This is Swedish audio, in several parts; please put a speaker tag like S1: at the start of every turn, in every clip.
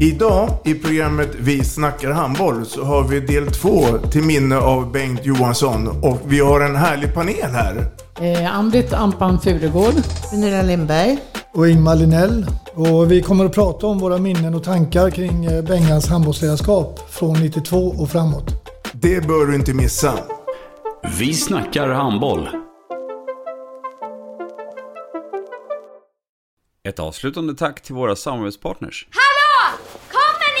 S1: Idag i programmet Vi snackar handboll så har vi del två till minne av Bengt Johansson och vi har en härlig panel här.
S2: Eh, Amrit Ampan Furugård.
S3: Gunilla Lindberg.
S4: och Ingmar Linell. Och vi kommer att prata om våra minnen och tankar kring eh, Bengans handbollsledarskap från 92 och framåt.
S1: Det bör du inte missa.
S5: Vi snackar handboll. Ett avslutande tack till våra samarbetspartners.
S6: Hallå! Kommer ni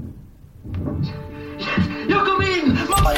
S7: Jag kom in!
S3: Mamma,